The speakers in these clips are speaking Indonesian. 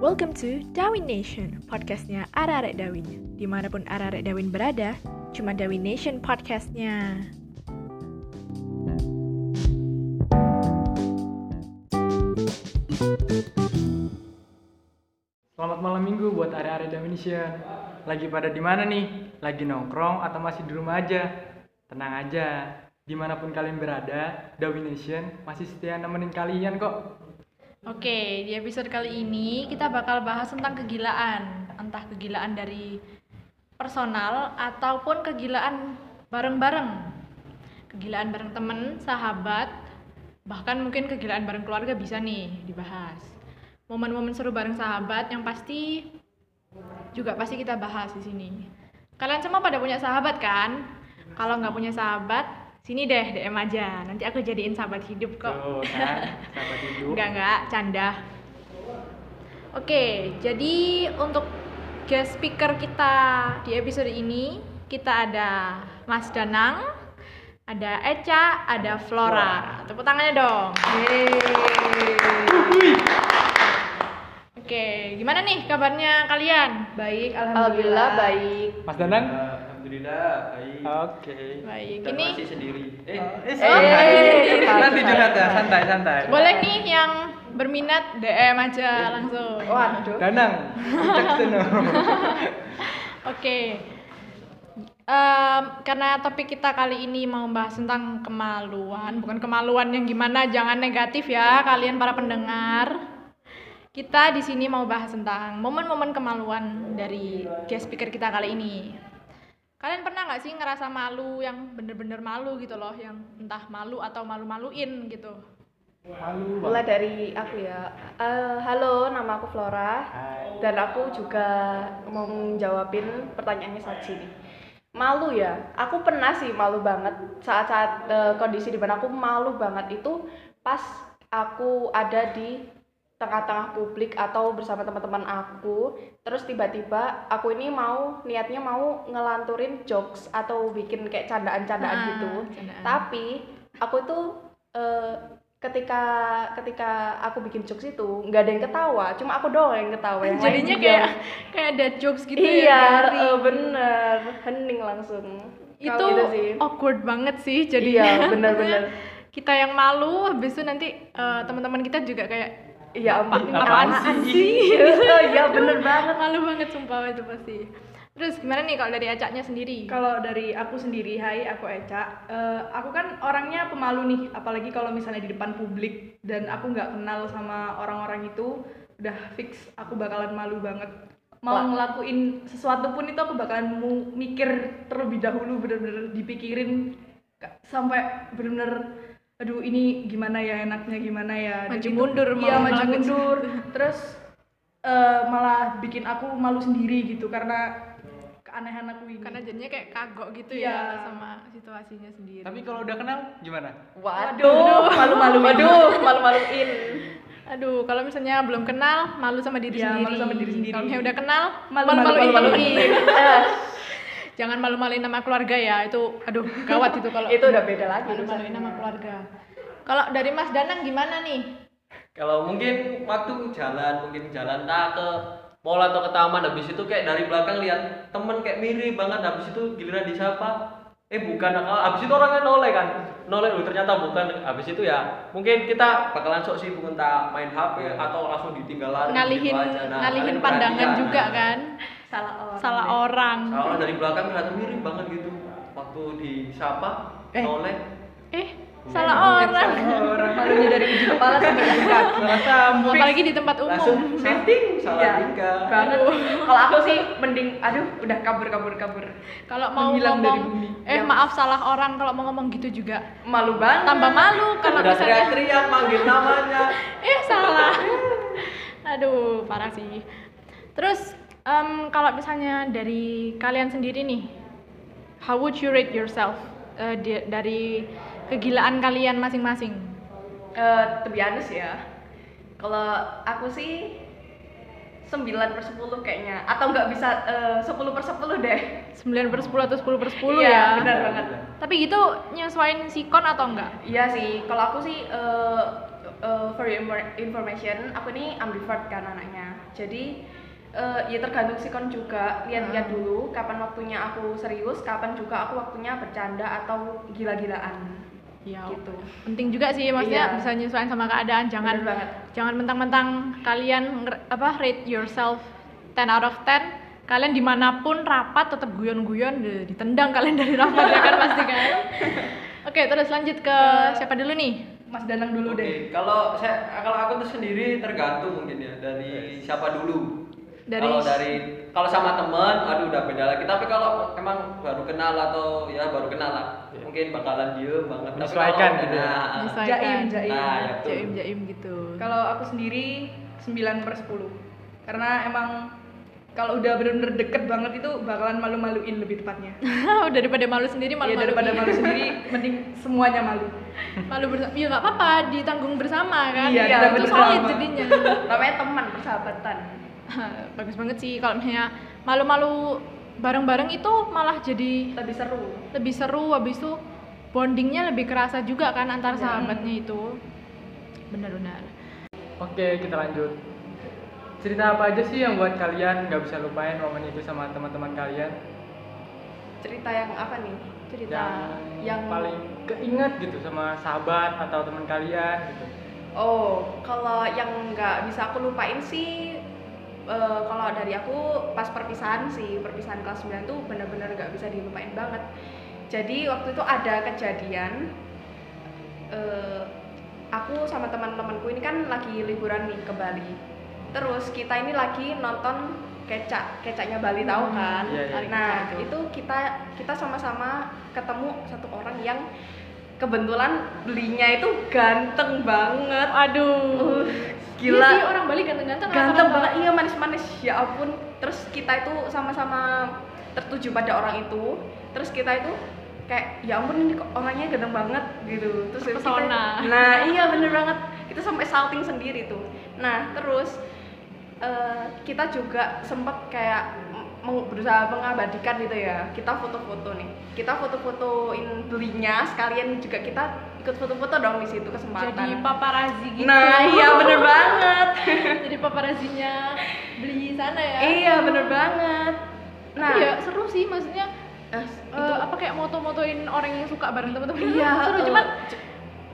Welcome to Darwin Nation, podcastnya Ararek Dawin. Dimanapun Ararek Dawin berada, cuma Dawin Nation podcastnya. Selamat malam minggu buat area-area Domination. Lagi pada di mana nih? Lagi nongkrong atau masih di rumah aja? Tenang aja, dimanapun kalian berada, Domination masih setia nemenin kalian kok. Oke, di episode kali ini kita bakal bahas tentang kegilaan. Entah kegilaan dari personal ataupun kegilaan bareng-bareng. Kegilaan bareng temen, sahabat, bahkan mungkin kegilaan bareng keluarga bisa nih dibahas. Momen-momen seru bareng sahabat yang pasti juga pasti kita bahas di sini. Kalian semua pada punya sahabat kan? Kalau nggak punya sahabat, sini deh DM aja. Nanti aku jadiin sahabat hidup kok. Tuh kan, sahabat hidup. Enggak enggak, canda. Oke, jadi untuk guest speaker kita di episode ini kita ada Mas Danang, ada Eca, ada Flora. Tepuk tangannya dong. Wuih. Oke, gimana nih kabarnya kalian? Baik, Alhamdulillah baik. Mas Danang? Alhamdulillah baik. Oke. Baik. Dan Ini masih sendiri. Eh, Eh, Eh, nanti santai, curhat ya, santai. santai santai. boleh nih yang berminat DM aja langsung. Waduh. Danang, cek seno. Oke. Em, karena topik kita kali ini mau membahas tentang kemaluan, bukan kemaluan yang gimana, jangan negatif ya kalian para pendengar. Kita di sini mau bahas tentang momen-momen kemaluan dari guest speaker kita kali ini. Kalian pernah nggak sih ngerasa malu yang bener-bener malu gitu loh, yang entah malu atau malu-maluin gitu? Malu Mulai dari aku ya. Eh, halo, nama aku Flora dan aku juga mau jawabin pertanyaannya Saji nih. Malu ya. Aku pernah sih malu banget saat-saat eh, kondisi di mana aku malu banget itu pas aku ada di tengah-tengah publik atau bersama teman-teman aku terus tiba-tiba aku ini mau niatnya mau ngelanturin jokes atau bikin kayak candaan-candaan Ah, gitu candaan. tapi aku itu eh, ketika ketika aku bikin jokes itu nggak ada yang ketawa cuma aku doang yang ketawa yang lain Jadinya diam. kayak kayak ada jokes gitu gitu. iya ya. garing. eh, bener hening langsung itu Kalau gitu sih. awkward banget sih Iya, jadinya benar-benar. kita yang malu habis itu nanti eh, teman-teman kita juga kayak iya ampun apaan sih oh, iya bener banget malu banget sumpah itu pasti terus gimana nih kalau dari acaknya sendiri Kalau dari aku sendiri, hai aku Eca. Eh, aku kan orangnya pemalu nih, apalagi kalau misalnya di depan publik dan aku nggak kenal sama orang-orang itu, udah fix aku bakalan malu banget. Mau ngelakuin sesuatu pun itu aku bakalan mu- mikir terlebih dahulu, bener-bener dipikirin ka- sampai bener-bener, aduh ini gimana ya enaknya gimana ya. Dan Maju itu- mundur, iya mau maju ngelakuin mundur. Terus eh, malah bikin aku malu sendiri gitu karena keanehan aku ini. karena jadinya kayak kagok gitu Iya. ya sama situasinya sendiri Tapi kalau udah kenal gimana? waduh malu-malu waduh malu-maluin aduh kalau misalnya belum kenal malu sama diri Iya, sendiri malu sama diri sendiri. kalau misalnya udah kenal Malu- malu-maluin malu-maluin Eh, jangan malu-maluin nama keluarga ya itu aduh gawat itu kalau itu udah beda lagi malu-maluin nama keluarga kalau dari Mas Danang gimana nih Kalau mungkin waktu jalan, mungkin jalan tak ke mall atau ke taman habis itu kayak dari belakang lihat temen kayak mirip banget habis itu giliran disapa eh bukan ah, habis itu orangnya noleh kan noleh "Loh, ternyata bukan habis itu ya mungkin kita bakalan sok sibuk entah main HP atau langsung ditinggalan gitu Nah, ngalihin ngalihin pandangan juga kan salah orang salah orang kalau Nah, dari belakang ternyata mirip banget gitu waktu disapa Eh. noleh eh salah orang Orang malunya dari ujung kepala sampai ujung kaki salah sambung. apalagi di tempat langsung umum setting Iya. salah tingkah banget kalau aku sih mending aduh udah kabur kabur kabur kalau mau Menghilang dari ngomong eh maaf salah orang kalau mau ngomong gitu juga malu banget tambah malu kalau udah misalnya teriak-teriak manggil namanya eh salah aduh parah sih terus em, kalau misalnya dari kalian sendiri nih how would you rate yourself eh, di- dari kegilaan kalian masing-masing Eh, to be honest ya kalau aku sih 9 per 10 kayaknya atau nggak bisa eh, 10 per 10 deh 9 per 10 atau 10 per 10 Iya, ya benar banget Tapi gitu nyesuaiin sikon atau enggak? iya sih kalau aku sih eh, eh, for your infor- information aku ini ambivert kan anaknya jadi eh, ya tergantung sikon juga Hmm. lihat-lihat dulu kapan waktunya aku serius kapan juga aku waktunya bercanda atau gila-gilaan Ya Iya. gitu Penting juga sih maksudnya Iya. bisa nyesuaiin sama keadaan, jangan Bener banget. jangan mentang-mentang kalian nger- apa rate yourself 10 out of 10 kalian dimanapun rapat tetap guyon-guyon deh, ditendang kalian dari rapat ya kan pasti kan oke terus lanjut ke siapa dulu nih Mas Danang dulu Oke, deh. kalau saya kalau aku tuh sendiri tergantung mungkin ya dari siapa dulu. Dari- kalau dari kalau sama teman, aduh udah beda lagi. Tapi kalau emang baru kenal atau ya baru kenal lah, mungkin bakalan diem banget. Tapi kalau Menyesuaikan udah- gitu ya. nah, Ah, Jaim, Menyesuaikan. jaim. Nah, ya betul. jaim jaim gitu Kalau aku sendiri 9 per 10 Karena emang kalau udah bener-bener deket banget itu bakalan malu-maluin lebih tepatnya daripada malu sendiri malu Ya daripada malu sendiri, mending semuanya malu malu bersama ya nggak apa-apa ditanggung bersama kan Ya, Iya, itu ditanggung solid bersama. jadinya namanya teman persahabatan bagus banget sih kalau misalnya malu-malu bareng-bareng itu malah jadi lebih seru lebih seru habis itu bondingnya lebih kerasa juga kan antar Iya. sahabatnya itu benar-benar Oke, kita lanjut. Cerita apa aja sih yang buat kalian nggak bisa lupain momen itu sama teman-teman kalian? cerita yang apa nih cerita Yang, yang paling keinget gitu sama sahabat atau teman kalian gitu. Oh, kalau yang nggak bisa aku lupain sih eh, kalau dari aku pas perpisahan sih, perpisahan kelas 9 tuh bener-bener nggak bisa dilupain banget. Jadi waktu itu ada kejadian eh, aku sama teman-temanku ini kan lagi liburan nih ke Bali. Terus kita ini lagi nonton kecak, kecaknya Bali tahu kan? Iya, iya. Nah, Kecak itu. itu kita kita sama-sama ketemu satu orang yang kebetulan belinya itu ganteng banget aduh Uh, gila gila Iya sih orang Bali ganteng-ganteng ganteng rata-rata. banget iya manis-manis ya ampun terus kita itu sama-sama tertuju pada orang itu terus kita itu kayak ya ampun ini kok orangnya ganteng banget gitu terus kita- Terpesona. nah iya bener banget kita sampai salting sendiri tuh nah terus eh, kita juga sempat kayak meng- berusaha mengabadikan gitu ya kita foto-foto nih kita foto-fotoin belinya sekalian juga kita ikut foto-foto dong di situ kesempatan jadi paparazi gitu Nah, iya bener banget. jadi paparazinya beli sana ya iya bener banget. Nah, nah ya seru sih maksudnya eh, eh, apa kayak moto-motoin orang yang suka bareng teman-teman Iya, seru eh, cuman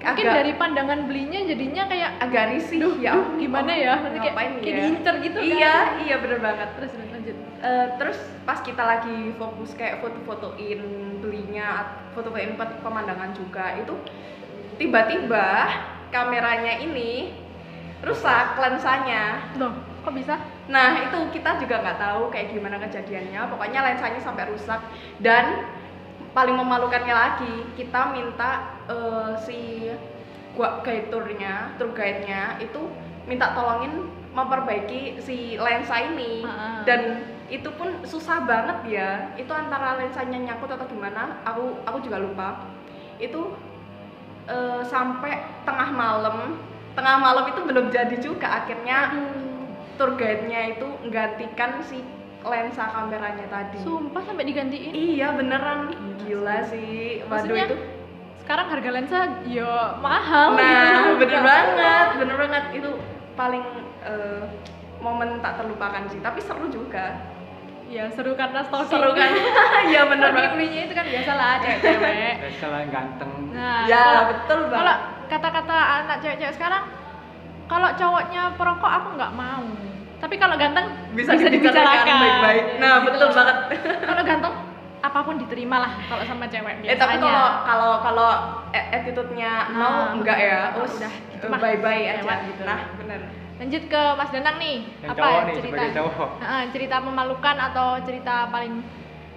mungkin agak- dari pandangan belinya jadinya kayak agak risih ya. ampun, gimana ya Maksudnya kayak, ngapain kayak ya? diincer gitu kan. Iya, iya bener banget. terus terus, lanjut Eh, terus pas kita lagi fokus kayak foto-fotoin belinya, foto-fotoin pe- pemandangan juga itu tiba-tiba kameranya ini rusak lensanya. loh kok bisa Nah, itu kita juga nggak tahu kayak gimana kejadiannya. Pokoknya lensanya sampai rusak dan paling memalukannya lagi, kita minta eh, si gua guide tournya, tour guide-nya itu minta tolongin memperbaiki si lensa ini. Ah, ah. Dan itu pun susah banget ya. Itu antara lensanya nyangkut atau gimana, aku aku juga lupa. Itu eh, sampai tengah malam. Tengah malam itu belum jadi juga akhirnya Hmm. tour guide-nya itu menggantikan si lensa kameranya tadi. sumpah sampai digantiin Iya beneran gila sih. Waduh Maksudnya, itu. sekarang harga lensa yo mahal Nah, gitu. bener banget, bener banget itu paling eh, momen tak terlupakan sih, tapi seru juga. ya seru karena stalking Seru kan? Iya bener Stalking banget. belinya itu kan biasa lah cewek-cewek Biasalah ganteng. nah Ya, kalau- betul banget. kalau kata-kata anak cewek-cewek sekarang kalau cowoknya perokok aku nggak mau tapi kalau ganteng Bisa, dibicarakan baik-baik. Nah, Gitu. betul banget. kalau ganteng apapun diterima lah kalau sama cewek biasanya Eh tapi kalau kalau kalau a- attitude-nya Nah, mau enggak ya? kalau Us, udah gitu eh, mah, bye-bye aja lewat gitu. Nah, bener. lanjut ke Mas Danang nih Yang apa cowok nih, cerita sebagai cowok. Heeh, cerita memalukan atau cerita paling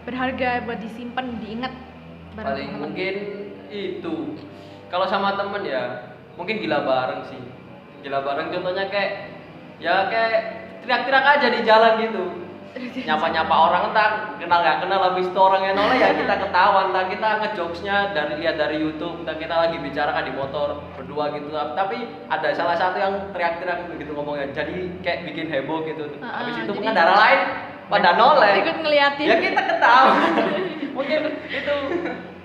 berharga buat disimpan diingat bareng paling temen-temen? mungkin itu kalau sama temen ya mungkin gila bareng sih gila bareng contohnya kayak ya kayak teriak-teriak aja di jalan gitu nyapa-nyapa orang entah kenal nggak kenal habis itu orangnya noleh ya kita ketawa entah kita ngejokesnya dari lihat dari YouTube entah kita lagi bicara kan di motor berdua gitu tapi ada salah satu yang teriak-teriak begitu ngomongnya jadi kayak bikin heboh gitu Ah, habis itu jadi- pengendara lain pada noleh ikut ngeliatin ya kita ketawa mungkin itu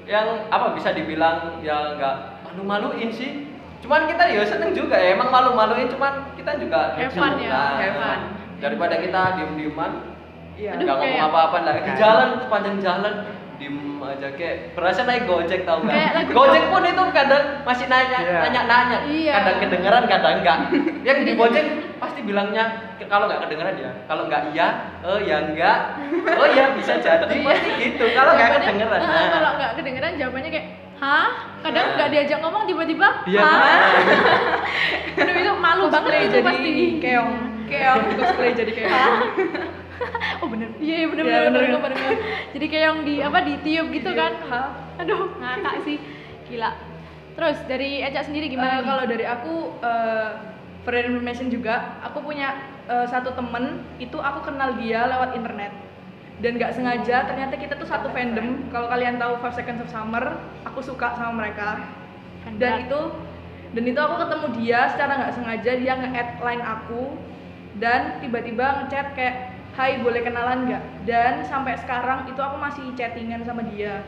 yang apa bisa dibilang ya nggak malu-maluin sih cuman kita ya seneng juga ya emang malu-maluin cuman kita juga Have lucu. fun ya, Nah, have fun. daripada kita diem-dieman Iya. nggak ngomong kayak- apa-apa lah di jalan sepanjang jalan diem aja kayak berasa naik gojek tau Kayak lagu- nggak gojek pun itu kadang masih nanya Iya. nanya nanya Iya. kadang kedengeran kadang enggak yang di gojek pasti bilangnya "Ke- kalau nggak kedengeran ya kalau nggak iya oh ya enggak oh ya bisa jadi pasti gitu kalau nggak Jawabannya, kedengeran "Ah, nah. kalau nggak kedengeran jawabannya kayak hah kadang Nah. nggak diajak ngomong tiba-tiba Iya, hah Aduh, itu malu banget itu Cosplay jadi pasti keong, keong cosplay jadi keong. oh bener iya iya, bener Iya, bener, bener, bener. bener, bener. jadi kayak yang di apa ditiup gitu Iya. kan hah aduh ngakak sih gila terus dari Eca sendiri gimana gimana nih? kalau dari aku eh, for your information juga aku punya eh, satu temen itu aku kenal dia lewat internet dan nggak sengaja ternyata kita tuh satu fandom kalau kalian tahu Five Seconds of Summer aku suka sama mereka Handrat. dan itu dan itu aku ketemu dia secara nggak sengaja dia nge-add line aku dan tiba-tiba ngechat kayak Hai boleh kenalan nggak? Dan sampai sekarang itu aku masih chattingan sama dia.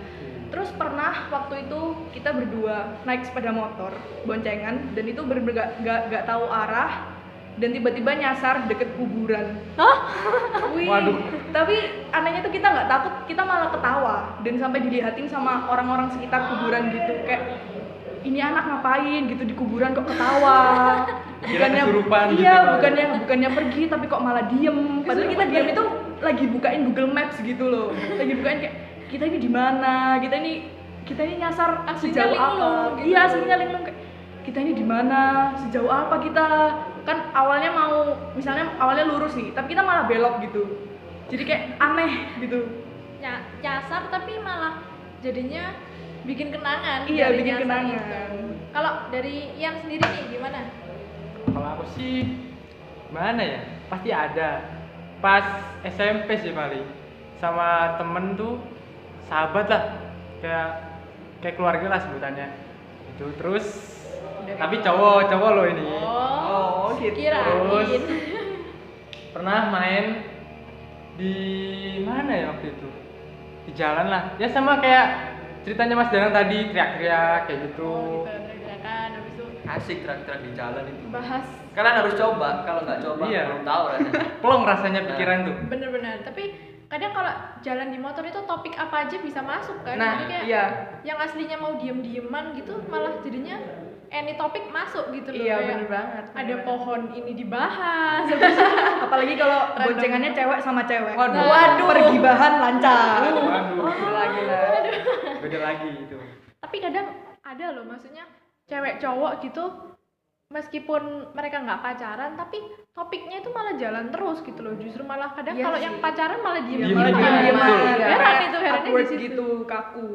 Terus pernah waktu itu kita berdua naik sepeda motor boncengan dan itu bener nggak nggak nggak tahu arah dan tiba-tiba nyasar deket kuburan. Wih, Waduh. tapi anehnya tuh kita nggak takut, kita malah ketawa dan sampai dilihatin sama orang-orang sekitar kuburan gitu kayak ini anak ngapain gitu di kuburan kok ketawa. Kira kesurupan gitu iya, kali. bukannya bukannya pergi tapi kok malah diem. Padahal gitu. kita diem itu lagi bukain Google Maps gitu loh, lagi bukain kayak kita ini di mana, kita ini kita ini nyasar Aslinya sejauh apa? linglung gitu. Iya, aslinya linglung kayak kita ini di mana, sejauh apa kita? Kan awalnya mau misalnya awalnya lurus nih, tapi kita malah belok gitu. Jadi kayak aneh gitu. Nya- nyasar tapi malah jadinya bikin kenangan Iya, dari bikin nyasar kenangan. itu. kalau dari yang sendiri nih gimana Kalau aku sih mana ya? Pasti ada. Pas SMP sih paling sama temen tuh sahabat lah kayak kayak keluarga lah sebutannya itu terus tapi cowok cowok loh ini oh, gitu. kirain Terus. pernah main di mana ya waktu itu di jalan lah ya sama kayak ceritanya Mas Danang tadi teriak-teriak kayak gitu oh, gitu, teriak-teriakan, habis itu asik terang-terang di jalan itu bahas kalian harus coba kalau nggak coba Iya. belum tahu rasanya plong rasanya pikiran tuh bener-bener tapi kadang kalau jalan di motor itu topik apa aja bisa masuk kan Nah, Jadi kayak iya. yang aslinya mau diem-dieman gitu malah jadinya any topik masuk gitu loh Iya, kayak bener banget. ada pohon ini dibahas habis itu Apalagi kalau Random. boncengannya cewek sama cewek. Waduh. Waduh. Pergi bahan lancar. waduh Gila gila. beda lagi itu tapi kadang ada loh maksudnya cewek cowok gitu meskipun mereka nggak pacaran tapi topiknya itu malah jalan terus gitu loh justru malah kadang Iya kalau sih. yang pacaran malah diem Diem aja, diem dieman aja. heran itu herannya di Awkward situ. gitu kaku.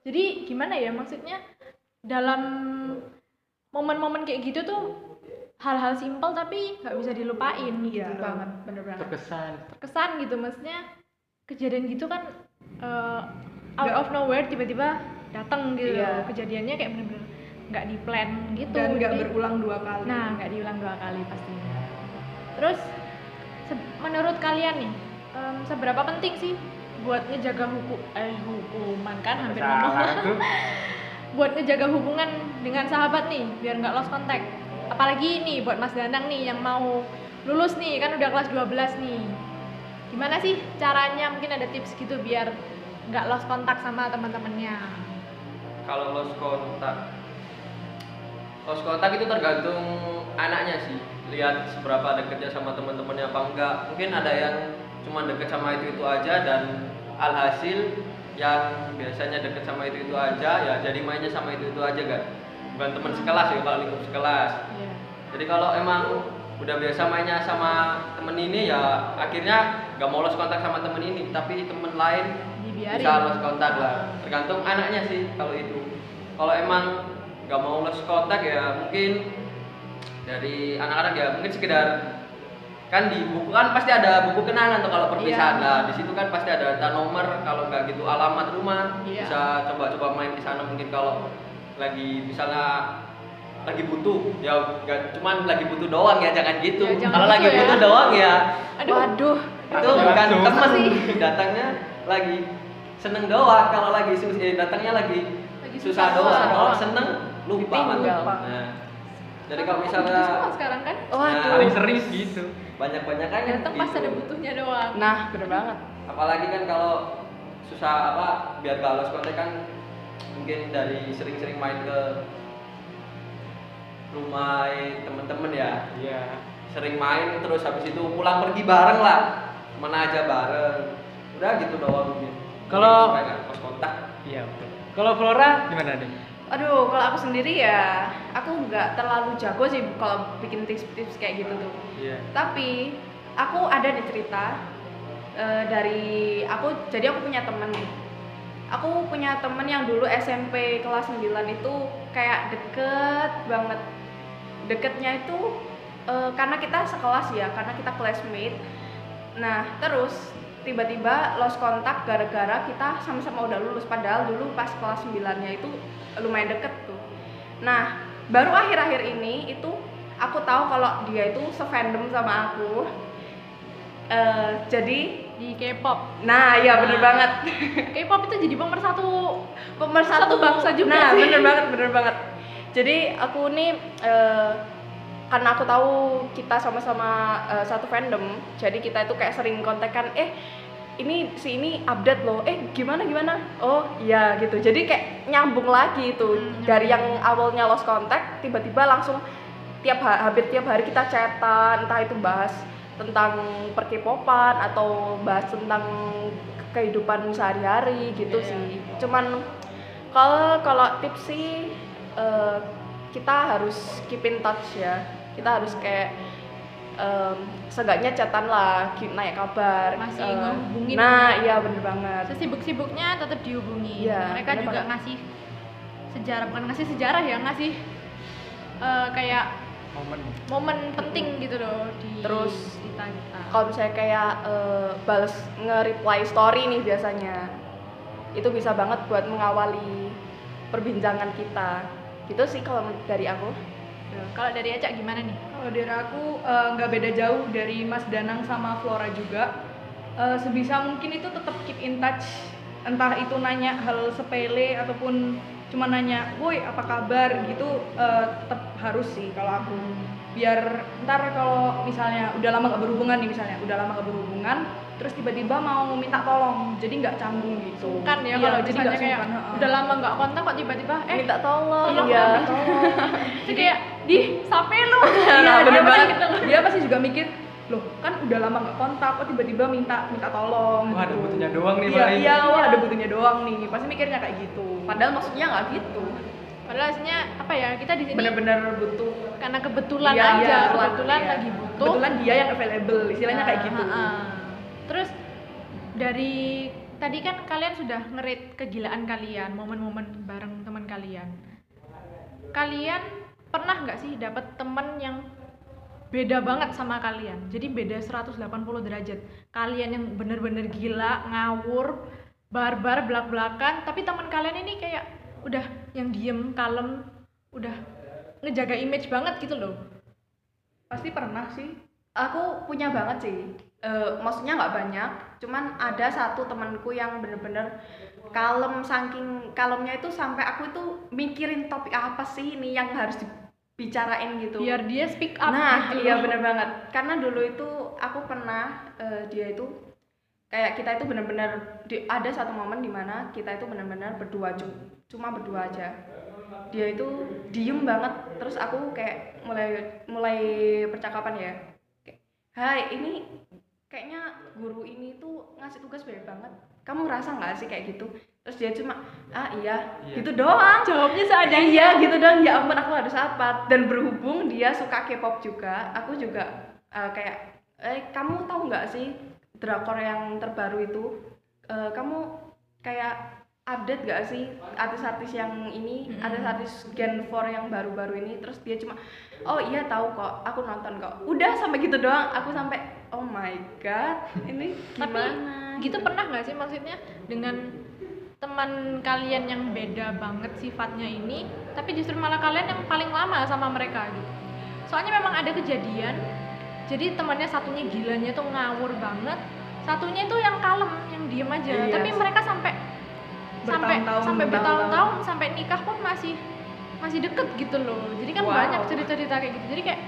jadi gimana ya maksudnya dalam momen-momen kayak gitu tuh hal-hal simpel tapi nggak bisa dilupain gitu Iya, loh. banget, bener banget terkesan kesan gitu maksudnya kejadian gitu kan eh, out of nowhere tiba-tiba datang gitu Iya. loh. kejadiannya kayak bener-bener nggak di plan gitu Dan nggak Jadi- berulang dua kali. nah nggak diulang dua kali pastinya terus se- menurut kalian nih em, seberapa penting sih buat ngejaga hukum eh hukuman kan hampir ngomong salah tuh buat ngejaga hubungan dengan sahabat nih biar nggak lost contact apalagi ini buat Mas Danang nih yang mau lulus nih kan udah kelas 12 nih gimana sih caranya mungkin ada tips gitu biar nggak lost kontak sama teman-temannya kalau lost kontak lost kontak itu tergantung anaknya sih lihat seberapa deketnya sama teman-temannya apa enggak mungkin ada yang cuma deket sama itu itu aja dan alhasil yang biasanya deket sama itu itu aja ya jadi mainnya sama itu itu aja kan bukan teman sekelas ya kalau lingkup sekelas Iya. jadi kalau emang udah biasa mainnya sama temen ini ya akhirnya nggak mau lost kontak sama temen ini tapi temen lain Dibiarin. bisa lost kontak lah tergantung anaknya sih kalau itu kalau emang nggak mau lost kontak ya mungkin dari anak-anak ya mungkin sekedar kan di buku kan pasti ada buku kenangan tuh kalau perpisahan Iya. lah di situ kan pasti ada data nomor kalau nggak gitu alamat rumah Iya. bisa coba-coba main di sana mungkin kalau lagi misalnya lagi butuh ya nggak cuman lagi butuh doang ya jangan gitu Ya, jangan kalau gitu lagi ya. butuh doang ya aduh Waduh, itu Langsung. bukan Langsung. teman datangnya lagi seneng doang kalau lagi sus eh, datangnya lagi, Lagi susah susah doang doang. kalau seneng lupa Ditinggal. mantap. nah jadi kalau Itu semua misalnya Nah, sekarang kan Waduh. paling sering gitu banyak banyak kan datang pas ada butuhnya doang Nah, bener banget. apalagi kan kalau susah apa biar gak lolos kontak kan mungkin dari sering-sering main ke rumah temen-temen ya iya sering main terus habis itu pulang pergi bareng lah mana aja bareng udah gitu doang mungkin Kalau- Supaya nggak lost kontak Nah. iya betul kalau Flora gimana nih Aduh, kalau aku sendiri ya, aku nggak terlalu jago sih kalau bikin tips-tips kayak gitu tuh. iya Tapi aku ada nih cerita eh, dari aku. Jadi aku punya temen nih. Aku punya temen yang dulu SMP kelas 9 itu kayak deket banget. Deketnya itu eh, karena kita sekelas ya, karena kita classmate. Nah, terus tiba-tiba lost kontak gara-gara kita sama-sama udah lulus padahal dulu pas kelas 9-nya itu lumayan deket tuh. Nah, baru akhir-akhir ini itu aku tahu kalau dia itu sefandom sama aku. Eh, jadi di K-pop nah ya bener Nah. banget K-pop itu jadi pemersatu Satu pemersatu bangsa juga nah sih. bener banget bener banget jadi aku nih eh, karena aku tahu kita sama-sama eh, satu fandom jadi kita itu kayak sering kontekan eh ini si ini update loh eh gimana gimana oh iya gitu jadi kayak nyambung lagi itu Hmm, dari yang nyambung. awalnya lost contact tiba-tiba langsung tiap ha- hampir tiap hari kita chatan entah itu bahas tentang perkepopan atau bahas tentang kehidupan sehari-hari gitu Iya. sih cuman kalau kalau tips sih eh, kita harus keep in touch ya kita harus kayak em, seenggaknya chatan lah ki- naik kabar Masih eh, ngehubungin. nah iya bener banget sesibuk-sibuknya tetap dihubungi Iya, mereka bener juga banget. ngasih sejarah bukan ngasih sejarah ya ngasih eh, kayak momen momen penting gitu loh di Terus, ditanya kalau misalnya kayak eh, bales nge-reply story nih biasanya itu bisa banget buat mengawali perbincangan kita gitu sih kalau menurut dari aku kalau dari Aca gimana nih Kalau dari aku eh, nggak beda jauh dari Mas Danang sama Flora juga. Eh, sebisa mungkin itu tetap keep in touch. Entah itu nanya hal sepele ataupun cuma nanya, woi apa kabar gitu eh, tetap harus sih kalau aku. Biar ntar kalau misalnya udah lama gak berhubungan nih misalnya, udah lama gak berhubungan, terus tiba-tiba mau minta tolong, jadi nggak canggung gitu. kan ya Iya, kalau jadi misalnya nggak kayak sungkan, heeh. udah lama nggak kontak kok tiba-tiba eh minta tolong tolong ya dong, itu kayak di sampai lu Nah, gitu. Iya, bener dia pasti, banget. dia pasti juga mikir, loh kan udah lama nggak kontak, kok tiba-tiba minta minta tolong. wah ada gitu." butuhnya doang nih Iya, paling iya, wah ada butuhnya doang nih. Pasti mikirnya kayak gitu. padahal maksudnya nggak gitu padahal aslinya apa ya kita di sini Bener-bener butuh. karena kebetulan Iya, aja iya, kebetulan, iya. lagi butuh Kebetulan dia yang available, istilahnya kayak Ah, gitu. ah, ah. terus dari tadi kan kalian sudah ngerit kegilaan kalian momen-momen bareng teman kalian kalian pernah nggak sih dapat temen yang beda banget sama kalian jadi beda 180 derajat kalian yang bener-bener gila ngawur barbar belak-belakan tapi teman kalian ini kayak udah yang diem kalem udah ngejaga image banget gitu loh Pasti pernah sih. aku punya banget sih Eh, maksudnya nggak banyak cuman ada satu temanku yang bener-bener kalem saking kalemnya itu sampai aku itu mikirin topik apa sih ini yang harus dibicarain gitu biar dia speak up nah gitu iya loh. bener banget karena dulu itu aku pernah eh, dia itu kayak kita itu bener-bener di- ada satu momen dimana kita itu bener-bener berdua cu- cuma berdua aja dia itu diem banget terus aku kayak mulai mulai percakapan ya Kayak, Hai ini kayaknya guru ini tuh ngasih tugas banyak banget kamu ngerasa nggak sih kayak gitu terus dia cuma ah iya Iya. gitu doang jawabnya dan seadanya iya gitu dong ya ampun aku harus apa dan berhubung dia suka K-pop juga aku juga eh, kayak eh kamu tahu nggak sih drakor yang terbaru itu Eh, kamu kayak update nggak sih artis-artis yang ini Mm-mm. artis-artis Gen 4 yang baru-baru ini terus dia cuma oh iya tahu kok aku nonton kok udah sampai gitu doang aku sampai oh my god ini Tapi, gimana gitu pernah nggak sih maksudnya dengan teman kalian yang beda banget sifatnya ini tapi justru malah kalian yang paling lama sama mereka gitu soalnya memang ada kejadian jadi temannya satunya gilanya tuh ngawur banget satunya itu yang kalem yang diem aja Iya. tapi mereka sampai sampai Bertahun-tahun, sampai bertahun-tahun. bertahun-tahun sampai nikah pun masih masih deket gitu loh jadi kan Wow. banyak cerita-cerita kayak gitu jadi kayak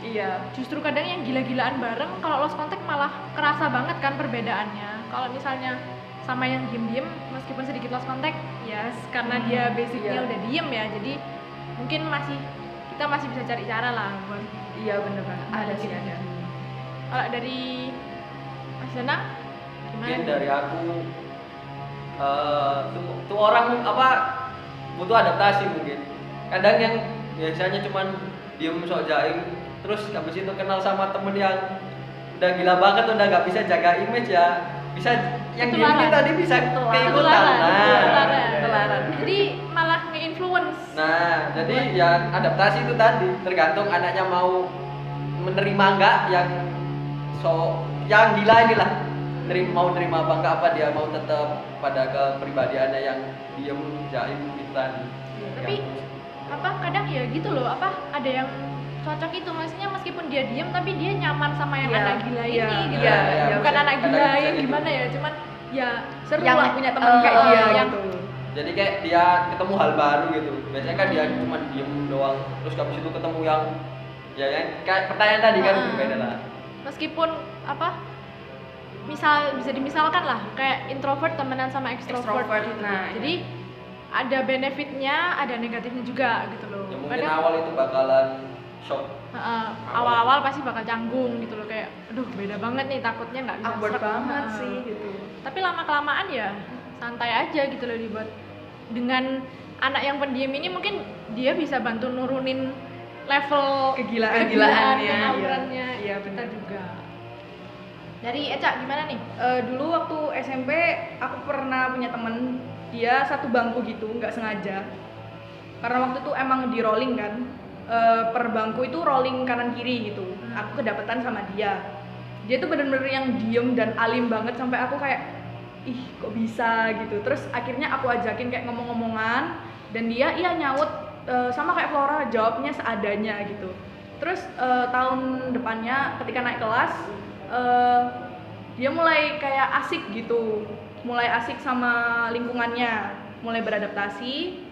Iya. justru kadang yang gila-gilaan bareng kalau lost contact malah kerasa banget kan perbedaannya kalau misalnya sama yang diem-diem meskipun sedikit lost contact yes karena dia basicnya iya. udah diem ya jadi mungkin masih kita masih bisa cari cara lah buat Iya bener banget. Ada sih ada. kalau dari Mas Danang gimana mungkin dari aku eh, tuh, tuh orang apa butuh adaptasi mungkin kadang yang biasanya cuman diem sok jaim terus habis itu kenal sama temen yang udah gila banget udah nggak bisa jaga image ya bisa yang diem Ketularan. tadi bisa keikutan Ketularan, nah ketularan. Ketularan. jadi malah nge-influence Nah, jadi ya adaptasi itu tadi tergantung anaknya mau menerima enggak yang so yang gila inilah. Terima, mau terima apa enggak apa dia mau tetap pada kepribadiannya yang diem jaim kita tapi apa kadang ya gitu loh apa ada yang cocok itu maksudnya meskipun dia diem tapi dia nyaman sama yang Iya, anak gila iya, ini gitu iya, loh. iya, bukan bisa- anak ya, kadang gila bisa yang gitu. gimana ya cuman ya seru Yang lah punya teman kayak eh, dia yang- gitu. jadi kayak dia ketemu hal baru gitu biasanya kan dia cuma diem doang terus habis itu ketemu yang ya yang kayak pertanyaan tadi kan Ah. berbeda lah meskipun apa misal bisa dimisalkan lah kayak introvert temenan sama ekstrovert Extrovert, nah, iya. jadi ada benefitnya ada negatifnya juga gitu loh ya mungkin Kadang- awal itu bakalan shock Heeh, awal-awal pasti bakal canggung gitu loh kayak aduh beda banget nih takutnya nggak bisa Awkward srek." banget Heeh. sih gitu. tapi lama kelamaan ya santai aja gitu loh dibuat dengan anak yang pendiam ini mungkin dia bisa bantu nurunin level Kegilaan- kegilaannya, iya. aurannya Iya, kita benar. juga dari Eca gimana nih Eh, dulu waktu SMP aku pernah punya temen dia satu bangku gitu nggak sengaja karena waktu itu emang di rolling kan Eh, per bangku itu rolling kanan kiri gitu aku kedapetan sama dia dia tuh bener-bener yang diem dan alim banget sampai aku kayak ih kok bisa gitu terus akhirnya aku ajakin kayak ngomong-ngomongan dan dia iya nyaut eh, sama kayak Flora jawabnya seadanya gitu terus eh, tahun depannya ketika naik kelas eh, dia mulai kayak asik gitu mulai asik sama lingkungannya mulai beradaptasi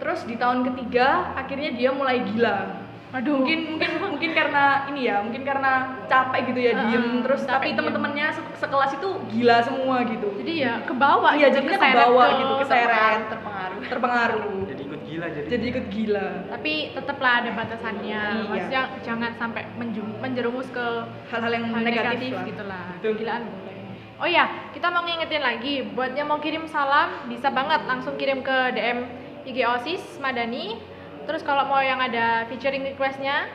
terus di tahun ketiga akhirnya dia mulai gila aduh mungkin mungkin mungkin mungkin karena ini ya mungkin karena capek gitu ya Ah, diem terus capek tapi diem. teman-temannya se- sekelas itu gila semua gitu jadi ya ke bawah Iya, gitu, jadinya keseret kebawa ke- gitu, keseret. terpengaruh terpengaruh terpengaruh jadi ikut gila jadi jadi ikut gila tapi tetaplah ada batasannya Iya. maksudnya jangan sampai menjum- menjerumus ke hal-hal yang hal negatif, negatif, lah. gitu lah Betul. Kegilaan boleh oh ya kita mau ngingetin lagi buat yang mau kirim salam bisa banget langsung kirim ke DM IG OSIS Madani terus kalau mau yang ada featuring requestnya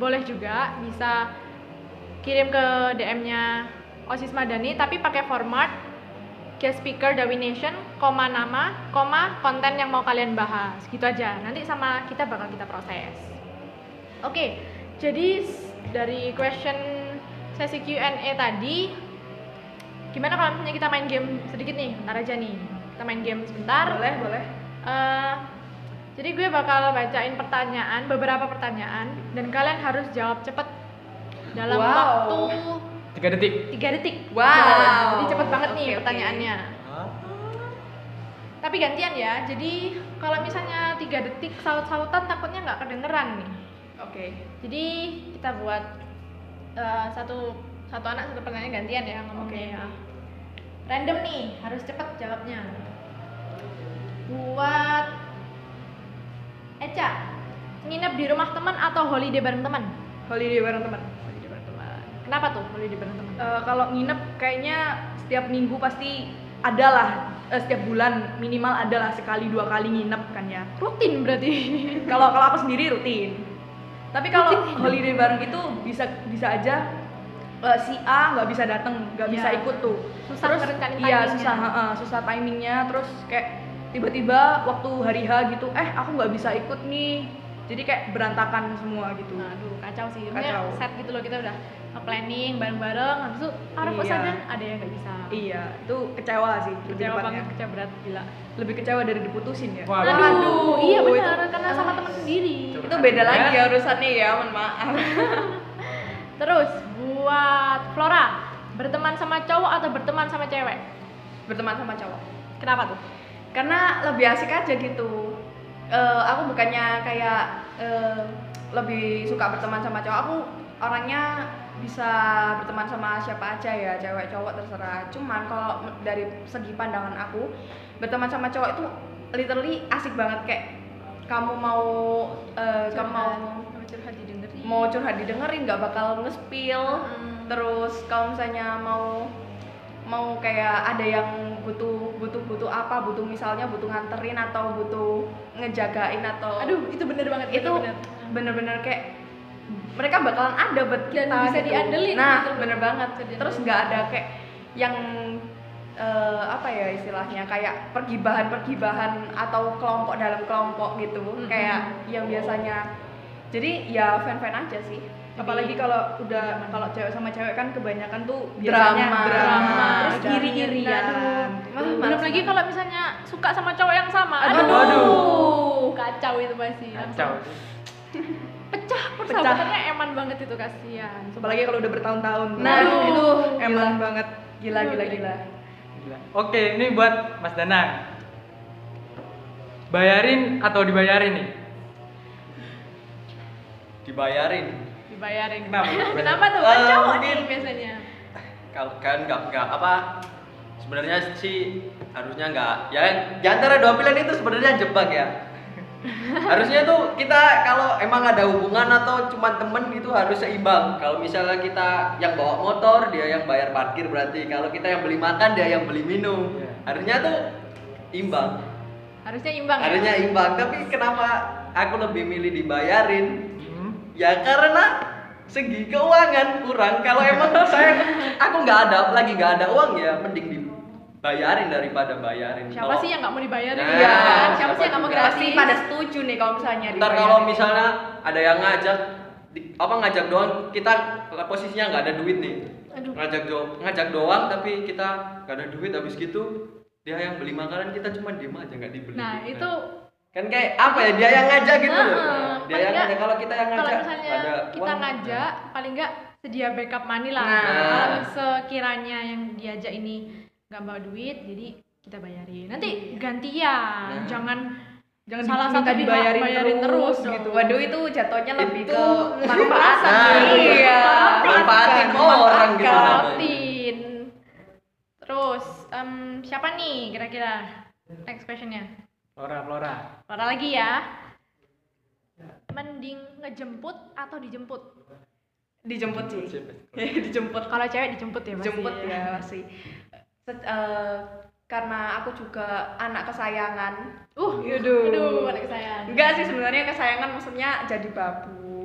boleh juga bisa kirim ke DM-nya OSIS Madani tapi pakai format guest speaker Dawi Nation, koma nama, koma konten yang mau kalian bahas. Gitu aja. Nanti sama kita bakal kita proses. Oke, jadi s- dari question sesi Q&A tadi gimana kalau misalnya kita main game sedikit nih, ntar aja nih. Kita main game sebentar. boleh boleh Eh, jadi gue bakal bacain pertanyaan, beberapa pertanyaan dan kalian harus jawab cepet dalam Wow. waktu tiga detik tiga detik Wow. jadi cepet banget nih Oke, oke. pertanyaannya tapi gantian ya jadi kalau misalnya tiga detik saut-sautan takutnya nggak kedengeran nih oke jadi kita buat eh, satu satu anak satu pertanyaan gantian ya ngomongnya Oke. ya random nih harus cepet jawabnya buat Eca nginep di rumah teman atau holiday bareng teman holiday bareng teman holiday bareng teman kenapa tuh holiday bareng teman Eh, kalau nginep kayaknya setiap minggu pasti ada lah eh, setiap bulan minimal ada lah sekali dua kali nginep kan ya rutin berarti kalau kalau aku sendiri rutin tapi kalau holiday bareng itu bisa bisa aja eh, si A nggak bisa datang nggak bisa Iya. ikut tuh Susah ngerenkanin iya timingnya. susah heeh, susah timingnya terus kayak tiba-tiba waktu hari H gitu eh aku nggak bisa ikut nih jadi kayak berantakan semua gitu aduh kacau sih kacau. Kacau. set gitu loh kita udah planning bareng-bareng habis itu harus Iya. sadar ada yang nggak bisa iya itu kecewa sih lebih kecewa tepatnya. banget kecewa berat gila lebih kecewa dari diputusin ya Wah, aduh, Aduh, iya itu- benar karena sama teman sendiri itu beda lagi ya urusannya ya mohon maaf terus buat Flora berteman sama cowok atau berteman sama cewek berteman sama cowok kenapa tuh karena lebih asik aja gitu eh, aku bukannya kayak eh, lebih suka berteman sama cowok aku orangnya bisa berteman sama siapa aja ya cewek cowok terserah cuman kalau me- dari segi pandangan aku berteman sama cowok itu literally asik banget kayak kamu mau eh, kamu mau mau curhat didengerin mau curhat didengerin nggak bakal nge-spill Hmm. terus kalau misalnya mau mau kayak ada yang butuh butuh butuh apa butuh misalnya butuh nganterin atau butuh ngejagain atau aduh itu bener banget itu bener. bener-bener kayak mereka bakalan ada buat kita Dan bisa gitu. diandelin nah gitu. bener banget Bisa diandelin. terus nggak ada kayak yang eh, apa ya istilahnya kayak pergibahan-pergibahan atau kelompok dalam kelompok gitu kayak yang biasanya jadi ya fan-fan aja sih apalagi kalau udah kalau cewek sama cewek kan kebanyakan tuh Drama. biasanya Drama. terus Drama. iri-irian Wah, belum males lagi kalau misalnya suka sama cowok yang sama Aduh. kacau itu pasti kacau Langsung pecah persahabatannya eman banget itu kasihan apalagi kalau udah bertahun-tahun Nah, Aduh, itu emang banget gila gila gila Gila. oke ini buat Mas Danang bayarin atau dibayarin nih dibayarin dibayarin Kenapa? kenapa tuh Eh, kan cowok nih mungkin- biasanya kalau kan nggak nggak apa sebenarnya sih harusnya nggak ya di antara dua pilihan itu sebenarnya jebak ya harusnya tuh kita kalau emang ada hubungan atau cuma temen itu harus seimbang kalau misalnya kita yang bawa motor dia yang bayar parkir berarti kalau kita yang beli makan dia yang beli minum Iya. harusnya tuh imbang harusnya imbang ya? harusnya imbang tapi kenapa aku lebih milih dibayarin Hmm. Ya karena segi keuangan kurang. Kalau emang saya aku nggak ada lagi nggak ada uang ya mending dibayarin daripada bayarin. siapa Kalau- sih yang nggak mau dibayarin ya Nah, siapa, siapa sih yang nggak mau juga. gratis pasti pada setuju nih kalau misalnya Ntar dibayarin. kalau misalnya ada yang ngajak di- apa ngajak doang kita posisinya nggak ada duit nih. Aduh. Ngajak do- ngajak doang tapi kita nggak ada duit habis gitu dia yang beli makanan kita cuma diem aja nggak dibeli. nah itu kan kayak apa ya dia yang ngajak gitu Nah, loh. eh, Dia paling yang nggak- ngajak kalau kita yang ngajak kalau misalnya ada kita uang. ngajak paling nggak sedia backup money lah Nah. kalau sekiranya yang diajak ini nggak bawa duit jadi kita bayarin nanti gantian Nah. jangan jangan Salah diminta satu pihak dibayarin, bayarin terus terus, dong. gitu waduh itu jatuhnya lebih Itu ke manfaat Nah, iya manfaatin orang gitu namanya. Manfaatin. terus em, siapa nih kira-kira next questionnya Flora Flora Lora lagi ya mending ngejemput atau dijemput dijemput sih Siapa? dijemput kalau cewek dijemput ya pasti jemput ya pasti Se- eh, karena aku juga anak kesayangan uh Yuduh. aduh anak kesayangan enggak sih sebenarnya kesayangan maksudnya jadi babu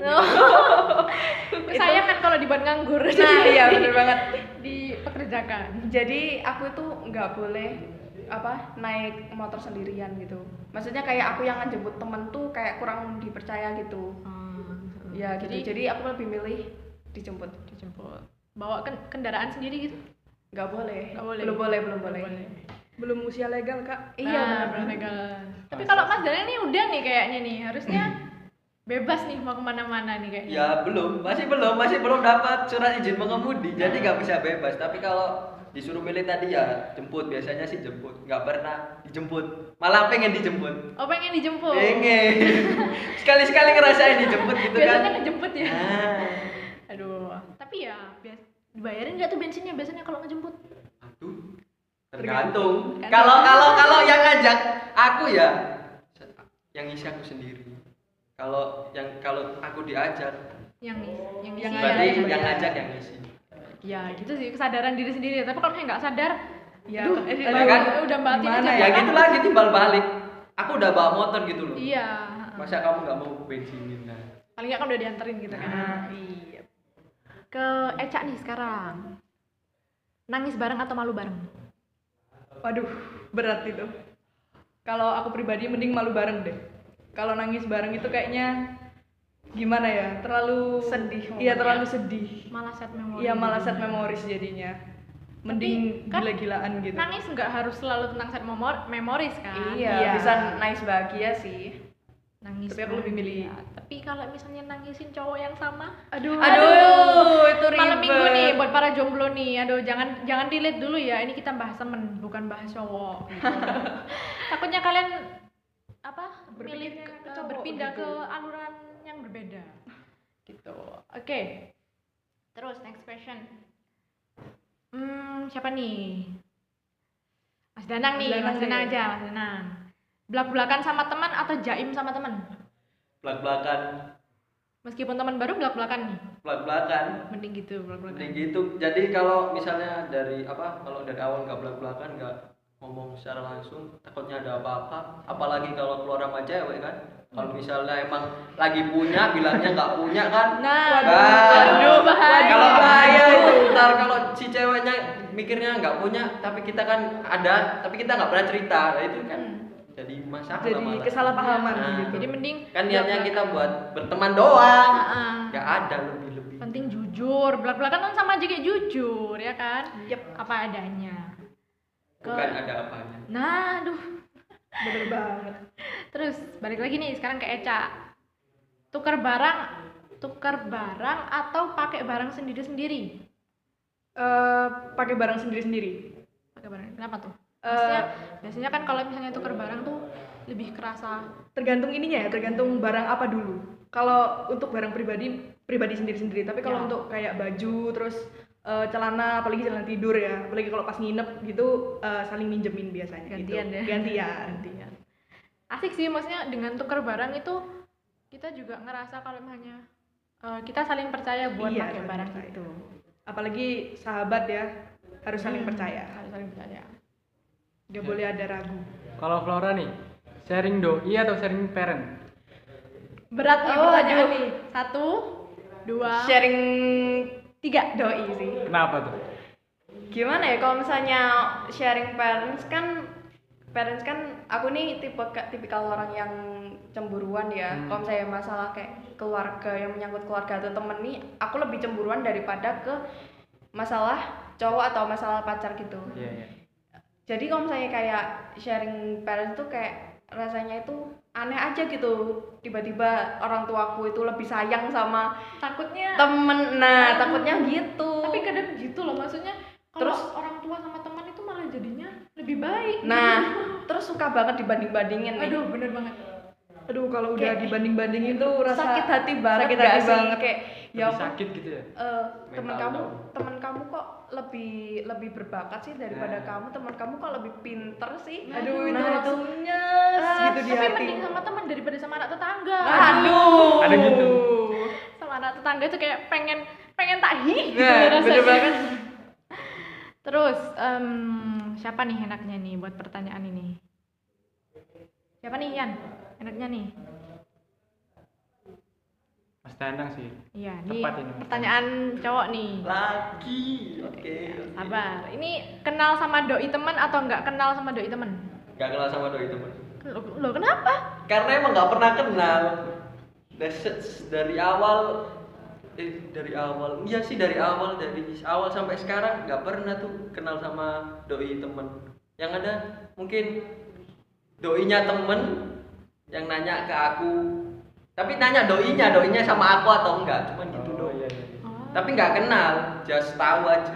kesayangan kan kalau dibuat nganggur nah iya bener banget dipekerjakan jadi aku itu nggak boleh apa naik motor sendirian gitu maksudnya kayak aku yang ngejemput temen tuh kayak kurang dipercaya gitu ya Hmm, gitu jadi, jadi, aku lebih milih dijemput dijemput bawa ken- kendaraan sendiri gitu nggak boleh. Nggak boleh. belum boleh belum boleh, belum usia legal kak iya Nah, bener bener legal. tapi kalau mas Daniel ini udah nih kayaknya nih harusnya bebas nih mau kemana-mana nih kayaknya Ya belum, masih belum, masih belum dapat surat izin mengemudi, jadi nggak bisa bebas. Tapi kalau disuruh milih tadi ya jemput, biasanya sih jemput, nggak pernah dijemput, malah pengen dijemput, oh pengen dijemput pengen sekali-sekali ngerasain dijemput gitu biasanya Iya, kan. ngejemput ya Ah, aduh tapi ya bias dibayarin nggak tuh bensinnya biasanya kalau ngejemput aduh, tergantung. Kalau kalau kalau yang ngajak aku ya, yang isi aku sendiri. Kalau yang kalau aku diajak, yang yang Yang isi ada berarti ya. yang ngajak yang isi. ya gitu sih kesadaran diri sendiri tapi kalau misalnya nggak sadar ya Aduh, eh, ya kan? udah mati Gimana aja. Ya gitu lagi timbal balik. Aku udah bawa motor gitu loh. iya Masa kamu nggak mau Nah, bensinin lah? paling nggak kan udah dianterin gitu kan iya ke Eca nih sekarang nangis bareng atau malu bareng Waduh, berat itu. Kalau aku pribadi mending malu bareng deh. Kalau nangis bareng itu kayaknya gimana ya? Terlalu Sedih Iya, momennya. terlalu sedih. malah set memori Iya, malah set memoris jadinya. Tapi Mending kan gila-gilaan gitu. nangis nggak harus selalu tentang set memor memoris kan iya, Iya. bisa nice bahagia sih nangis Tapi aku bareng, lebih milih- ya. tapi kalau misalnya nangisin cowok yang sama Aduh. aduh itu ribet malam minggu nih buat para jomblo nih aduh jangan jangan delete dulu ya ini kita bahas temen bukan bahas cowok takutnya kalian apa milih Berpikirnya ke- cowok berpindah gitu. ke aluran yang berbeda gitu oke terus next question hmm siapa nih Mas Danang Mas nih Danang Mas Danang deh. aja Mas Danang belak belakan sama teman atau jaim sama teman belak belakan meskipun teman baru belak belakan nih belak belakan mending gitu belak belakan Mending gitu. Jadi kalau misalnya dari apa kalau dari awal nggak belak belakan nggak ngomong secara langsung takutnya ada apa-apa apalagi kalau keluar sama cewek kan kalau misalnya emang lagi punya bilangnya nggak punya kan nah Waduh, bahaya. Kalau bahaya itu ntar kalau si ceweknya mikirnya nggak punya, tapi kita kan ada, tapi kita nggak pernah cerita, nah, itu kan jadi masalah jadi malah. kesalahpahaman Nah, gitu jadi mending Kan niatnya kita belak-belakan. buat berteman doang, Ah, ah. nggak ada lebih lebih. penting jujur belak belakan kan sama aja kayak jujur ya kan Yep. apa adanya Bukan ada apanya. nah aduh bener banget terus balik lagi nih sekarang ke Eca tukar barang tukar barang atau pakai barang sendiri sendiri Eh, pakai barang sendiri sendiri pakai barang kenapa tuh Maksudnya, Eh. biasanya kan kalau misalnya tukar barang tuh lebih kerasa tergantung ininya ya tergantung barang apa dulu kalau untuk barang pribadi pribadi sendiri sendiri tapi kalau Ya. untuk kayak baju terus eh, celana apalagi celana tidur ya apalagi kalau pas nginep gitu eh, saling minjemin biasanya Gantian gitu. ya. gantian gantian asik sih maksudnya dengan tukar barang itu kita juga ngerasa kalau misalnya eh, kita saling percaya buat Iya, pakai saling barang gitu. percaya. itu apalagi sahabat ya harus saling Hmm. percaya harus saling percaya nggak Ya. boleh ada ragu Kalau Flora nih, sharing doi atau sharing parent? berat nih Oh, pertanyaan aduh. nih satu dua sharing tiga doi sih Kenapa tuh? gimana ya kalau misalnya sharing parents kan parents kan aku nih tipe tipikal orang yang cemburuan ya Hmm. kalau misalnya masalah kayak keluarga yang menyangkut keluarga atau temen nih aku lebih cemburuan daripada ke masalah cowok atau masalah pacar gitu Iya, iya. jadi kalau misalnya kayak sharing parents tuh kayak rasanya itu aneh aja gitu tiba-tiba orang tuaku itu lebih sayang sama takutnya temen nah takutnya gitu tapi kadang gitu loh maksudnya kalau Terus? orang tua sama teman itu malah jadinya lebih baik Gitu. nah terus suka banget dibanding-bandingin nih aduh bener banget aduh kalau udah Kayak- dibanding bandingin tuh rasa sakit hati banget sakit nggak hati sih? banget. kayak ya Lebih ampun, sakit gitu ya? eh, teman Mental kamu down. teman kamu kok lebih lebih berbakat sih daripada Nah. kamu teman kamu kok lebih pinter sih aduh Nah, itu langsung nyes Ah, gitu di tapi hati mending sama teman daripada sama anak tetangga Nah. aduh Ada gitu. sama anak tetangga itu kayak pengen pengen tak hih gitu Nah, loh rasanya. bener banget. terus em, siapa nih enaknya nih buat pertanyaan ini siapa nih Ian enaknya nih Mas Danang sih. iya nih Tepat ini. pertanyaan cowok nih Lagi, oke. oke. sabar ini kenal sama doi teman atau nggak kenal sama doi teman Gak kenal sama doi temen lo, lo kenapa karena emang nggak pernah kenal Dari- se- dari awal eh dari awal iya sih dari awal dari awal sampai sekarang nggak pernah tuh kenal sama doi temen yang ada mungkin doinya temen yang nanya ke aku tapi nanya doinya doinya sama aku atau enggak cuman gitu Oh, iya. doang tapi nggak kenal just tahu aja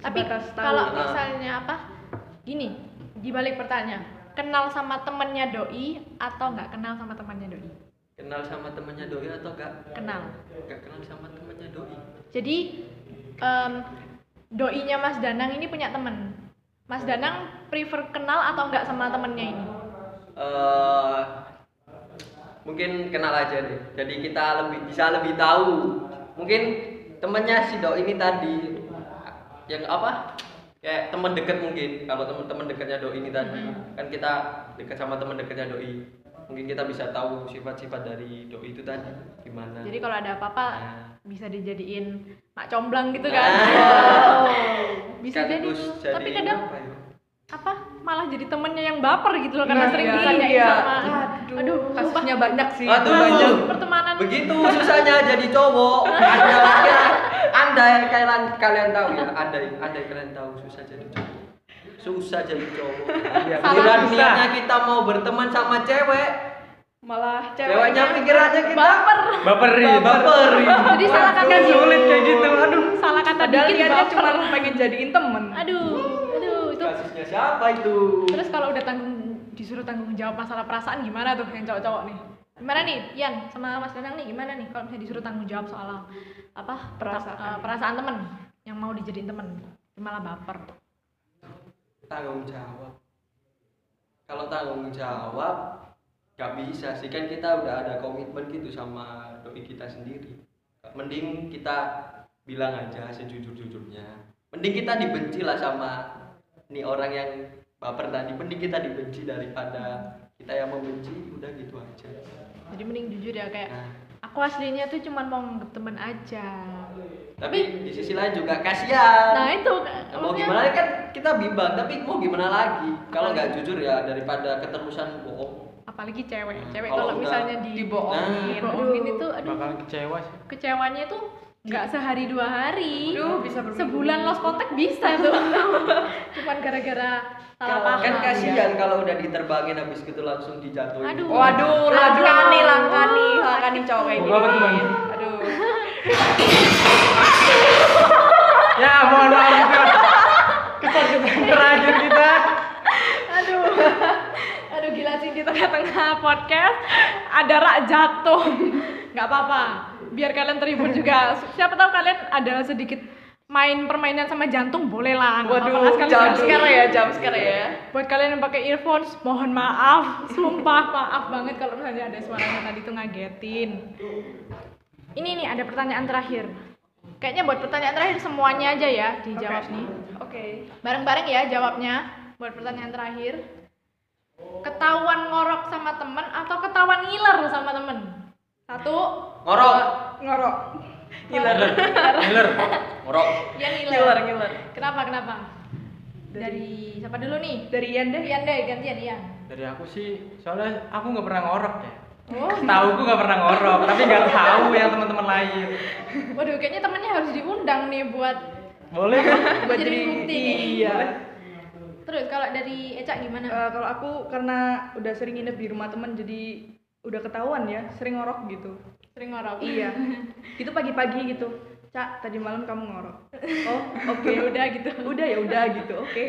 tapi Sebatas tahu. kalau Ah. misalnya apa gini dibalik pertanyaan kenal sama temennya doi atau nggak kenal sama temannya doi kenal sama temennya doi atau enggak kenal enggak kenal sama temennya doi jadi em, doinya Mas Danang ini punya temen Mas Danang prefer kenal atau nggak sama temennya ini eh mungkin kenal aja deh jadi kita lebih bisa lebih tahu mungkin temennya si doi ini tadi yang apa kayak teman deket mungkin kalau teman-teman dekatnya doi ini tadi Mm-hmm. kan kita dekat sama teman dekatnya doi mungkin kita bisa tahu sifat-sifat dari doi itu tadi gimana jadi kalau ada apa-apa Nah. bisa dijadiin mak comblang gitu kan bisa jadi Sekaligus tuh. tapi kadang apa ya? apa malah jadi temennya yang baper gitu loh karena Nah, sering gitu, iya. ditanyain Iya. sama aduh, kasusnya banyak sih Aduh, Aduh, banyak. pertemanan Begitu susahnya jadi cowok. Anda laki-laki- Anda yang kalian kalian tahu ya, Anda yang Anda yang kalian tahu susah jadi cowok. Susah jadi cowok. Iya, Giliran susah. niatnya kita mau berteman sama cewek, malah ceweknya ceweknya pikirannya kita baper Baperin. baper. jadi salah kata Waduh, sulit kayak gitu. Aduh. salah kata padahal dikit niatnya baper. cuma pengen jadiin temen aduh aduh itu kasusnya siapa itu? Terus kalau udah tanggung disuruh tanggung jawab masalah perasaan gimana tuh yang cowok-cowok nih? Gimana nih, Yan sama Mas Danang nih gimana nih kalau misalnya disuruh tanggung jawab soal apa perasaan perasaan temen yang mau dijadiin temen malah baper. tanggung jawab kalau tanggung jawab nggak bisa sih kan kita udah ada komitmen gitu sama doi kita sendiri mending kita bilang aja sejujur-jujurnya mending kita dibenci lah sama nih orang yang baper tadi mending kita dibenci daripada kita yang membenci udah gitu aja Jadi mending jujur ya kayak nah aku aslinya tuh cuman mau nganggep temen aja. tapi di sisi lain Nah juga kasihan itu mau maksudnya- gimana kan kita bimbang tapi mau gimana lagi kalau nggak jujur ya daripada keterusan bohong apalagi cewek Hmm, cewek kalau kalau udah misalnya di dibohongin, dibohongin aduh. itu aduh bakal kecewa sih kecewanya itu nggak sehari dua hari Aduh, bisa berminggu. sebulan lost kontak bisa tuh cuman gara-gara salah paham Iya. kan kasihan kalau udah diterbangin habis gitu langsung dijatuhin Aduh. Waduh, langka nih, langka nih, langka nih cowok kayak Mau gini. apa tuh, Bang? Aduh. ya mohon maaf itu kesan-kesan terakhir kita aduh aduh gila sih di tengah-tengah podcast ada rak jatuh nggak apa-apa biar kalian terhibur juga siapa tahu kalian ada sedikit main permainan sama jantung boleh lah nggak apa-apa, Waduh, sekali-sekali. jam sekarang ya, jam sekarang ya. buat kalian yang pakai earphones mohon maaf sumpah maaf banget kalau misalnya ada suaranya tadi tuh ngagetin ini nih ada pertanyaan terakhir kayaknya buat pertanyaan terakhir semuanya aja ya dijawab nih Oke. bareng-bareng ya jawabnya buat pertanyaan terakhir ketahuan ngorok sama temen atau ketahuan ngiler sama temen satu ngorok Ngorok. Ngiler, ngiler ngorok ya ngiler ngiler, ngiler. kenapa kenapa dari siapa dulu nih Dari Ian deh. Ian deh gantian Ian dari aku sih soalnya aku nggak pernah ngorok ya oh tahu aku nggak pernah ngorok tapi nggak tahu yang teman-teman lain Waduh, kayaknya temennya harus diundang nih buat boleh kan? buat jadi bukti nih. Iya. Terus kalau dari Eca gimana? Eh, kalau aku karena udah sering nginep di rumah temen jadi udah ketahuan ya, sering ngorok gitu. Sering ngorok. Iya. Itu pagi-pagi gitu. Cak, tadi malam kamu ngorok. Oh, oke. Ya udah gitu. Udah ya udah gitu. Oke.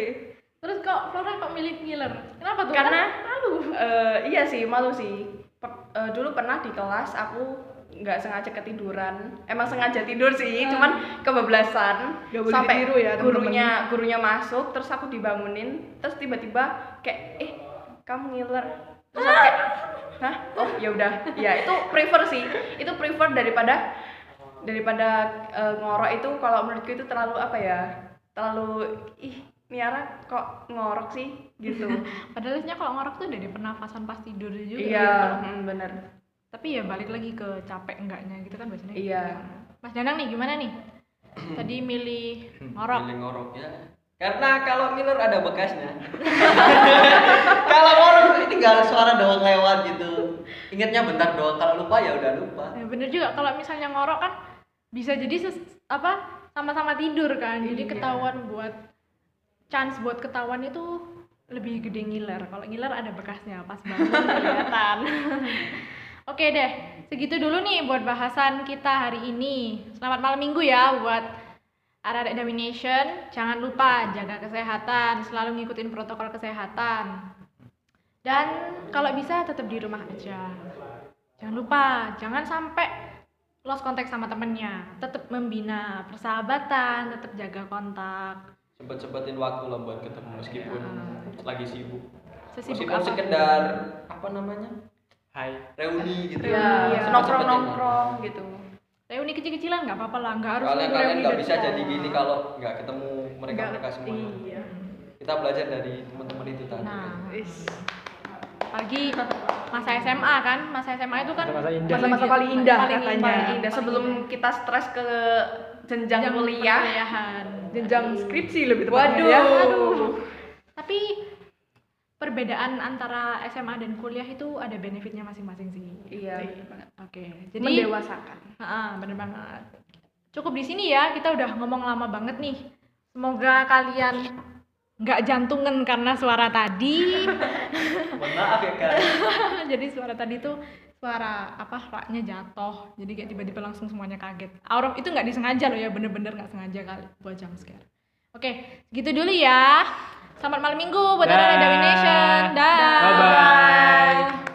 Terus kok Flora kok milih ngiler? Kenapa tuh? Karena- Kan malu. Eh, iya sih, malu sih. Pe- eh, dulu pernah di kelas aku nggak sengaja ketiduran. Emang sengaja tidur sih, cuman kebablasan Nggak boleh sampai ditiru ya, temen-temen. gurunya gurunya masuk, terus aku dibangunin, terus tiba-tiba kayak eh kamu ngiler. Terus aku kayak Hah? Oh, ya udah. Ya, itu prefer sih. Itu prefer daripada daripada eh, ngorok itu kalau menurutku itu terlalu apa ya? Terlalu ih, Niara kok ngorok sih gitu. Padahal sebenarnya kalau ngorok tuh dari pernafasan pas tidur juga. gitu. iya, mm, bener. Tapi ya balik lagi ke capek enggaknya gitu kan biasanya. Iya. Mas Danang nih gimana nih? Tadi milih ngorok. Milih ngorok ya karena kalau ngiler ada bekasnya kalau ngorok tinggal suara doang lewat gitu ingatnya bentar doang kalau lupa ya udah lupa Ya bener juga kalau misalnya ngorok kan bisa jadi ses- apa sama-sama tidur kan. Jadi ketahuan buat chance buat ketahuan itu lebih gede ngiler. Kalau ngiler ada bekasnya pas bangun kelihatan. Oke deh, segitu dulu nih buat bahasan kita hari ini. Selamat malam minggu ya buat Ararek Domination. Jangan lupa jaga kesehatan, selalu ngikutin protokol kesehatan. Dan kalau bisa tetap di rumah aja jangan lupa jangan sampai lost kontak sama temennya tetap membina persahabatan tetap jaga kontak cepet-cepetin waktu lah buat ketemu meskipun lagi sibuk Iya. sesibuk meskipun apapun. sekedar apa namanya hai reuni gitu Iya, Cepet-cepetin. nongkrong-nongkrong gitu. reuni kecil-kecilan nggak apa-apa lah nggak harus soalnya kalian reuni nggak bisa besar. jadi gini kalau nggak ketemu mereka mereka semua Iya. kita belajar dari teman-teman itu tadi nah Is. apalagi masa SMA kan masa SMA itu kan Masa-masa indah. Masa-masa paling indah katanya. Iya, Paling indah sebelum kita stres ke jenjang jam kuliah. Iya. perkuliahan Jenjang skripsi lebih tepatnya Waduh. ya. Aduh. Iya. tapi perbedaan antara SMA dan kuliah itu ada benefitnya masing-masing sih Iya. kan? oke Jadi jadi mendewasakan. Ah, bener banget. Cukup di sini ya, kita udah ngomong lama banget nih. Semoga kalian nggak jantungan karena suara tadi. mohon maaf ya kak Jadi suara tadi tuh suara apa raknya jatuh. Jadi kayak tiba-tiba langsung semuanya kaget. Auror itu nggak disengaja loh ya, bener-bener nggak sengaja kali buat jump scare. Oke, gitu dulu ya. Selamat malam minggu buat Dah. anak-anak Dewi Nation. Dah. Bye-bye.